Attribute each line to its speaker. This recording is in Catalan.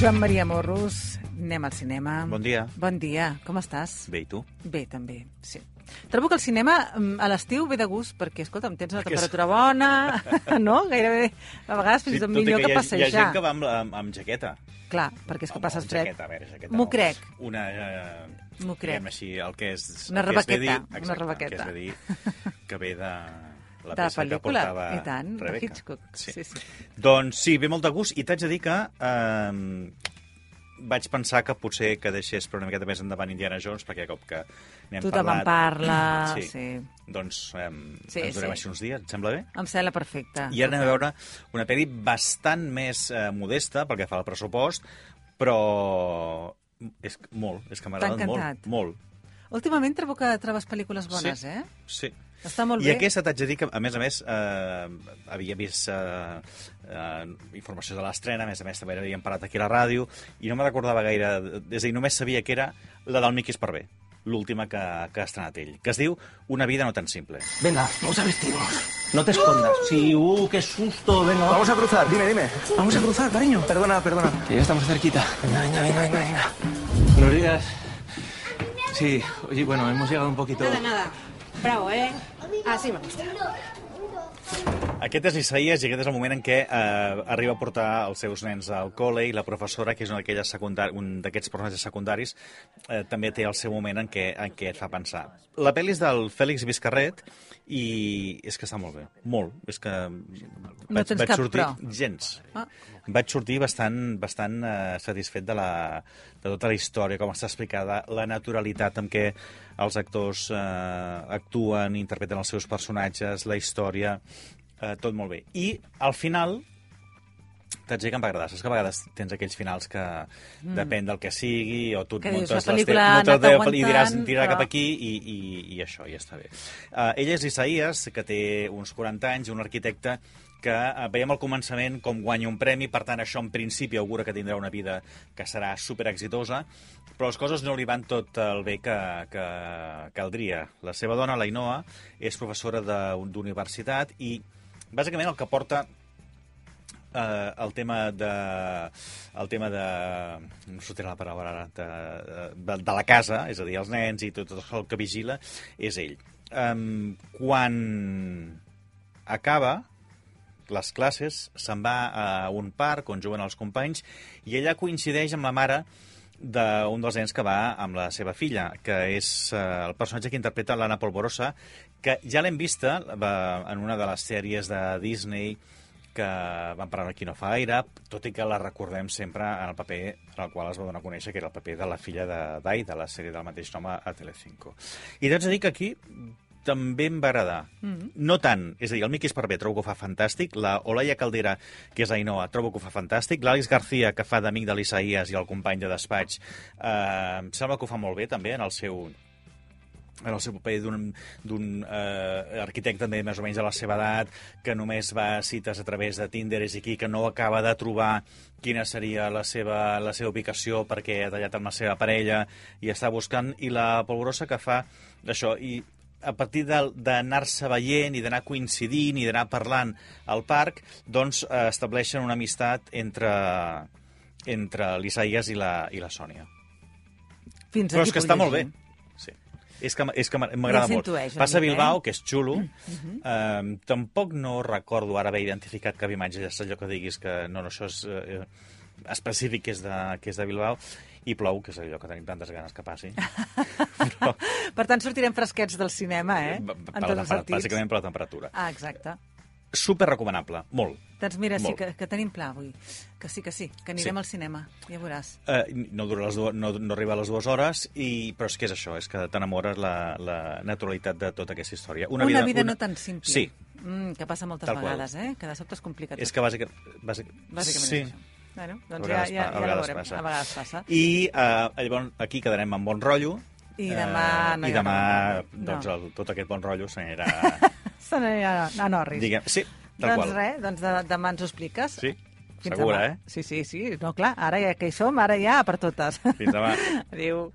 Speaker 1: Joan Maria Morros, anem al cinema.
Speaker 2: Bon dia.
Speaker 1: Bon dia, com estàs?
Speaker 2: Bé, i tu?
Speaker 1: Bé, també, sí. Trobo que el cinema mm, a l'estiu ve de gust, perquè, escolta'm, tens una
Speaker 2: Perquè és-
Speaker 1: temperatura bona, no? Gairebé, a vegades fins i tot
Speaker 2: tot i
Speaker 1: millor que,
Speaker 2: hi ha,
Speaker 1: passejar.
Speaker 2: Hi ha gent que va amb, la- amb, amb jaqueta.
Speaker 1: Clar, perquè és que
Speaker 2: Home,
Speaker 1: passes
Speaker 2: amb
Speaker 1: fred.
Speaker 2: Jaqueta, a veure, jaqueta.
Speaker 1: M'ho
Speaker 2: no.
Speaker 1: crec.
Speaker 2: Una... Eh,
Speaker 1: M'ho crec.
Speaker 2: Diguem així, el que és...
Speaker 1: Una
Speaker 2: el que es ve
Speaker 1: rebaqueta,
Speaker 2: dit-
Speaker 1: una
Speaker 2: Exacte,
Speaker 1: rebaqueta.
Speaker 2: El que es ve dir que ve de... La
Speaker 1: de la
Speaker 2: peça
Speaker 1: pel·lícula,
Speaker 2: que portava
Speaker 1: i tant, de
Speaker 2: Rebecca.
Speaker 1: Hitchcock.
Speaker 2: Sí.
Speaker 1: sí. sí.
Speaker 2: Doncs sí, ve molt de gust i t'haig de dir que eh, vaig pensar que potser que deixés per una miqueta més endavant Indiana Jones perquè cop que n'hem
Speaker 1: Tothom en
Speaker 2: parlat...
Speaker 1: parla, sí.
Speaker 2: Sí.
Speaker 1: sí.
Speaker 2: Doncs eh,
Speaker 1: Sí,
Speaker 2: ens
Speaker 1: sí.
Speaker 2: donem així uns dies, et sembla bé?
Speaker 1: Em sembla perfecte.
Speaker 2: I ara anem a veure una pel·li bastant més eh, modesta pel que fa al pressupost, però és que- molt, és que m'ha
Speaker 1: T'ha
Speaker 2: agradat molt.
Speaker 1: encantat.
Speaker 2: Molt,
Speaker 1: Últimament trobo que trobes pel·lícules bones,
Speaker 2: Sí.
Speaker 1: eh?
Speaker 2: sí.
Speaker 1: Està molt
Speaker 2: I
Speaker 1: bé.
Speaker 2: aquesta t'haig de dir que, a més a més, eh, havia vist eh, eh, informació de l'estrena, a més a més també havíem parlat aquí a la ràdio, i no me recordava gaire, és a dir, només sabia que era la del Miquis per bé, l'última que, que ha estrenat ell, que es diu Una vida no tan simple.
Speaker 3: Venga, vamos a vestirnos.
Speaker 4: No te escondas. Sí, uh, qué susto, venga.
Speaker 3: Vamos a cruzar, dime, dime. Vamos a cruzar, cariño. Perdona, perdona.
Speaker 4: Que ya estamos cerquita.
Speaker 3: Venga, venga, venga, venga. venga.
Speaker 4: Buenos días. Sí, oye, bueno, hemos llegado un poquito.
Speaker 5: Nada, nada. Bravo, ¿eh? Así me gusta.
Speaker 2: Aquest és Isaías i aquest és el moment en què eh, arriba a portar els seus nens al col·le i la professora, que és una d'aquelles secundar- un d'aquests personatges secundaris, eh, també té el seu moment en què, en què et fa pensar. La pel·li és del Fèlix Vizcarret i és que està molt bé, molt. És que vaig,
Speaker 1: tens
Speaker 2: vaig
Speaker 1: cap
Speaker 2: sortir
Speaker 1: però.
Speaker 2: gens.
Speaker 1: Ah.
Speaker 2: Vaig sortir bastant, bastant eh, satisfet de, la, de tota la història, com està explicada, la naturalitat amb què els actors eh, actuen, interpreten els seus personatges, la història, eh, tot molt bé. I al final, t'haig de dir que em va agradar. Saps que a vegades tens aquells finals que mm. depèn del que sigui, o tu et
Speaker 1: Que dius,
Speaker 2: muntes
Speaker 1: la
Speaker 2: les
Speaker 1: pel·lícula
Speaker 2: teves-
Speaker 1: ha
Speaker 2: muntes
Speaker 1: anat
Speaker 2: les teves pel- i diràs,
Speaker 1: aguantant,
Speaker 2: tira
Speaker 1: però-
Speaker 2: cap aquí, i, i, i això, ja està bé. Uh, ell és Isaías, que té uns 40 anys, un arquitecte que eh, veiem al començament com guanya un premi, per tant, això en principi augura que tindrà una vida que serà super exitosa, però les coses no li van tot el bé que, que caldria. La seva dona, la Inoa, és professora de- d'universitat i, bàsicament, el que porta eh, el tema de... el tema de... no em sortirà la paraula ara... De, de, de la casa, és a dir, els nens i tot, tot el que vigila, és ell. Um, quan acaba les classes, se'n va a un parc on juguen els companys i allà coincideix amb la mare d'un dels nens que va amb la seva filla, que és eh, el personatge que interpreta l'Anna Polvorosa, que ja l'hem vista eh, en una de les sèries de Disney que van parar aquí no fa gaire, tot i que la recordem sempre en el paper en el qual es va donar a conèixer, que era el paper de la filla de Dai, de la sèrie del mateix nom a a Telecinco. I t'haig de dir que aquí també em va agradar. Mm -hmm. No tant. És a dir, el Miqui Esparvé trobo que ho fa fantàstic, la Olaya Caldera, que és Ainhoa, trobo que ho fa fantàstic, l'Àlex García, que fa d'amic de l'Isaías i el company de despatx, eh, em sembla que ho fa molt bé també en el seu en el seu paper d'un d'un, eh, arquitecte també més o menys a la seva edat, que només va a cites a través de Tinder i aquí, que no acaba de trobar quina seria la seva, la seva ubicació perquè ha tallat amb la seva parella i està buscant, i la polvorosa que fa això, i a partir del- d'anar-se veient i d'anar coincidint i d'anar parlant al parc, doncs eh, estableixen una amistat entre, entre l'Isaías i, la, i la Sònia.
Speaker 1: Fins
Speaker 2: Però
Speaker 1: aquí
Speaker 2: és que
Speaker 1: puc
Speaker 2: està molt bé.
Speaker 1: llegir.
Speaker 2: Sí. És que, m- és que m- m'agrada
Speaker 1: Ja
Speaker 2: molt.
Speaker 1: s'intueix una
Speaker 2: Passa a
Speaker 1: mica,
Speaker 2: Bilbao,
Speaker 1: eh? Mhm.
Speaker 2: que és xulo. eh, tampoc no recordo ara haver identificat cap imatge, ja és allò que diguis que no, no, això és eh, eh, específic que és, de, que és de Bilbao. I plou, que és allò que tenim tantes ganes que passi.
Speaker 1: Eh?
Speaker 2: Però,
Speaker 1: Per tant, sortirem fresquets del cinema, eh?
Speaker 2: b- b-
Speaker 1: En
Speaker 2: per la
Speaker 1: tots els
Speaker 2: tempera-
Speaker 1: sentits.
Speaker 2: bàsicament per la temperatura.
Speaker 1: Ah, exacte.
Speaker 2: Super recomanable, molt.
Speaker 1: Doncs mira, sí
Speaker 2: Molt.
Speaker 1: que, que tenim pla avui. Que sí, que sí, que anirem
Speaker 2: Sí.
Speaker 1: al cinema. Ja veuràs.
Speaker 2: Eh, no, dura les dues, no, no arriba a les dues hores, i, però és que és això, és que t'enamores la, la naturalitat de tota aquesta història.
Speaker 1: Una vida, no tan simple.
Speaker 2: Sí,
Speaker 1: Mm, que passa moltes
Speaker 2: Tal qual.
Speaker 1: vegades, eh? Que de sobte es complica tot.
Speaker 2: és que bàsicament... Bàsic...
Speaker 1: Bàsicament
Speaker 2: sí.
Speaker 1: és això. Bueno, doncs ja,
Speaker 2: A vegades
Speaker 1: ja,
Speaker 2: pa- a
Speaker 1: ja la
Speaker 2: vegades
Speaker 1: veurem.
Speaker 2: passa.
Speaker 1: A vegades passa.
Speaker 2: I eh, llavors aquí quedarem amb bon rotllo.
Speaker 1: I demà no
Speaker 2: eh,
Speaker 1: hi
Speaker 2: I
Speaker 1: ha
Speaker 2: demà,
Speaker 1: bon rotllo.
Speaker 2: doncs,
Speaker 1: No.
Speaker 2: el, tot aquest bon rotllo s'anirà...
Speaker 1: Se n'anirà a Norris.
Speaker 2: diguem, sí, tal
Speaker 1: doncs
Speaker 2: qual.
Speaker 1: res, doncs de, demà ens ho expliques.
Speaker 2: Sí,
Speaker 1: Fins
Speaker 2: segura,
Speaker 1: demà.
Speaker 2: eh?
Speaker 1: Sí, sí, sí. No, clar, ara ja que hi som, ara ja per totes.
Speaker 2: Fins demà.
Speaker 1: Adéu.